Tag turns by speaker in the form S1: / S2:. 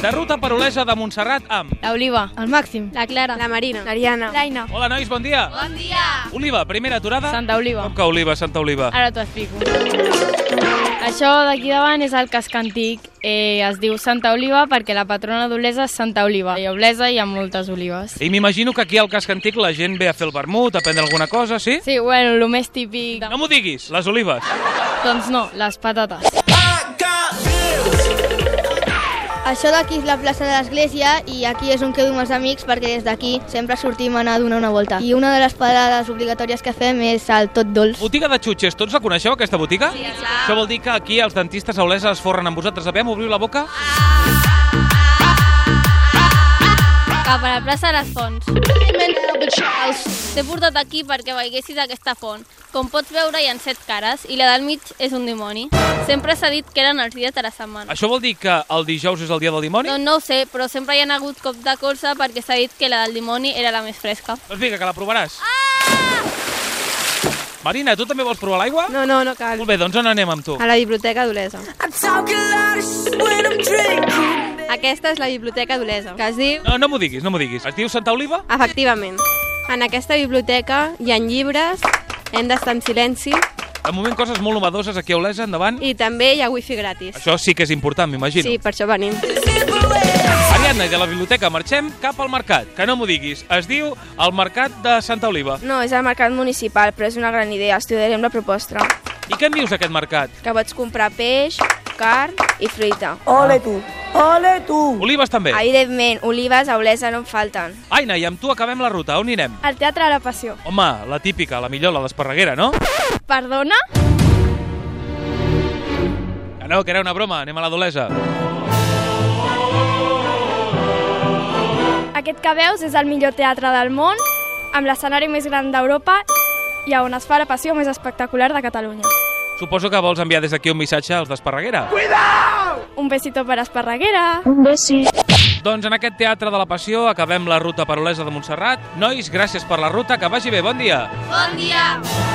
S1: De ruta per Olesa de Montserrat amb...
S2: L'Oliva.
S3: El Màxim.
S2: La Clara.
S4: La Marina.
S3: L'Ariana.
S2: L'Aina.
S1: Hola, nois, bon dia.
S2: Bon dia.
S1: Oliva, primera aturada.
S2: Santa Oliva.
S1: Com que Oliva, Santa Oliva?
S2: Ara t'ho explico.
S3: Això d'aquí davant és el casc antic. Eh, es diu Santa Oliva perquè la patrona d'Olesa és Santa Oliva. I a Olesa hi ha moltes olives.
S1: I m'imagino que aquí al casc antic la gent ve a fer el vermut, a prendre alguna cosa, sí?
S3: Sí, bueno, el més típic...
S1: No m'ho diguis, les olives.
S3: Doncs no, les patates.
S5: Això d'aquí és la plaça de l'església i aquí és on quedo amb els amics perquè des d'aquí sempre sortim a anar a donar una volta. I una de les parades obligatòries que fem és el tot dolç.
S1: Botiga de xutxes, tots la coneixeu, aquesta botiga? Sí, clar. Això vol dir que aquí els dentistes a Olesa es forren amb vosaltres. A veure, m'obriu la boca?
S6: cap a la plaça de les Fonts. T'he portat aquí perquè veiguessis aquesta font. Com pots veure, hi ha set cares i la del mig és un dimoni. Sempre s'ha dit que eren els dies de la setmana.
S1: Això vol dir que el dijous és el dia del dimoni?
S6: No, no ho sé, però sempre hi ha hagut cop de colze perquè s'ha dit que la del dimoni era la més fresca.
S1: Doncs vinga, que la provaràs. Ah! Marina, tu també vols provar l'aigua?
S4: No, no, no cal.
S1: Molt bé, doncs on anem amb tu?
S4: A la biblioteca d'Olesa. Aquesta és la biblioteca d'Olesa, que es diu...
S1: No, no m'ho diguis, no m'ho diguis. Es diu Santa Oliva?
S4: Efectivament. En aquesta biblioteca hi ha llibres, hem d'estar en silenci
S1: De moment coses molt novedoses aquí a Olesa, endavant.
S4: i també hi ha wifi gratis.
S1: Això sí que és important, m'imagino.
S4: Sí, per això venim.
S1: Ariadna, i de la biblioteca marxem cap al mercat. Que no m'ho diguis, es diu el mercat de Santa Oliva.
S7: No, és al mercat municipal, però és una gran idea. Estudiarem la proposta.
S1: I què en dius d'aquest mercat?
S7: Que pots comprar peix, carn i fruita.
S1: Olives també.
S7: Evidentment, olives a Olesa no en falten.
S1: Aina, i amb tu acabem la ruta. On anirem?
S3: El Teatre de la Passió.
S1: Home, la típica, la millor, la d'Esparreguera, no?
S3: Perdona?
S1: Que no, que era una broma, anem a la Dolesa.
S3: Aquest que veus és el millor teatre del món, amb l'escenari més gran d'Europa i on es fa la passió més espectacular de Catalunya.
S1: Suposo que vols enviar des d'aquí un missatge als d'Esparreguera.
S3: Un besito per Esparreguera.
S1: Doncs en aquest Teatre de la Passió acabem la ruta per Olesa de Montserrat. Nois, gràcies per la ruta, que vagi bé, bon dia.
S6: Bon dia!